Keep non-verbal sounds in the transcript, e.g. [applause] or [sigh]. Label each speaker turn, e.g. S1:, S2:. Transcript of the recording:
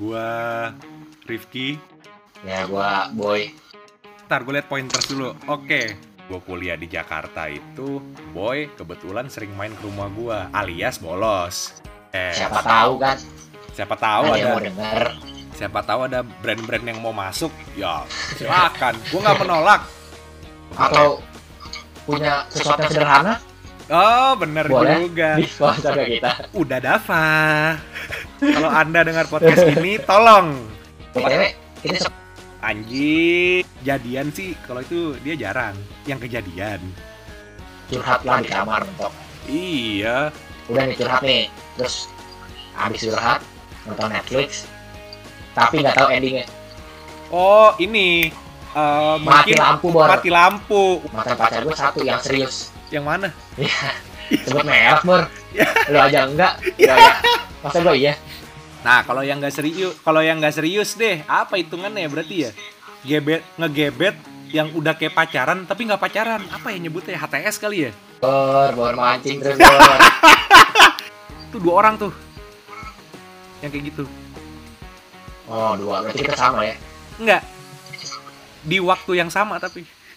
S1: Gua Rifki.
S2: Ya gua boy.
S1: Ntar gue liat pointers dulu. Oke. Gue kuliah di Jakarta itu, boy kebetulan sering main ke rumah gua, alias bolos. Eh,
S2: Siapa tahu kan
S1: siapa tahu
S2: ada
S1: ada,
S2: yang mau denger.
S1: siapa tahu ada brand-brand yang mau masuk, ya silakan. Gue nggak menolak.
S2: Atau punya sesuatu yang sederhana
S1: Oh, bener
S2: Boleh.
S1: juga.
S2: di sponsor ke kita.
S1: Udah dafa. Kalau anda dengar podcast ini, tolong
S2: BTW, kita se-
S1: Anjing, jadian sih kalau itu dia jarang yang kejadian.
S2: curhat lah di kamar mentok.
S1: Iya,
S2: Udah nih curhat nih. Terus habis curhat nonton Netflix tapi nggak tahu endingnya.
S1: Oh ini eh,
S2: Mati
S1: mungkin
S2: lampu bor.
S1: mati lampu.
S2: Mantan pacar gua satu yang serius.
S1: Yang mana?
S2: Sebut merek bor. Lu aja enggak. Ya
S1: [laughs]
S2: ya. Masa gua iya?
S1: Nah kalau yang nggak serius, kalau yang nggak serius deh, apa hitungannya ya berarti ya? Gebet, ngegebet yang udah kayak pacaran tapi nggak pacaran. Apa ya nyebutnya? HTS kali ya?
S2: Bor, bor mancing terus bor.
S1: [laughs] Tuh dua orang tuh yang kayak gitu.
S2: Oh, dua. Berarti kita sama ya.
S1: Enggak. Di waktu yang sama tapi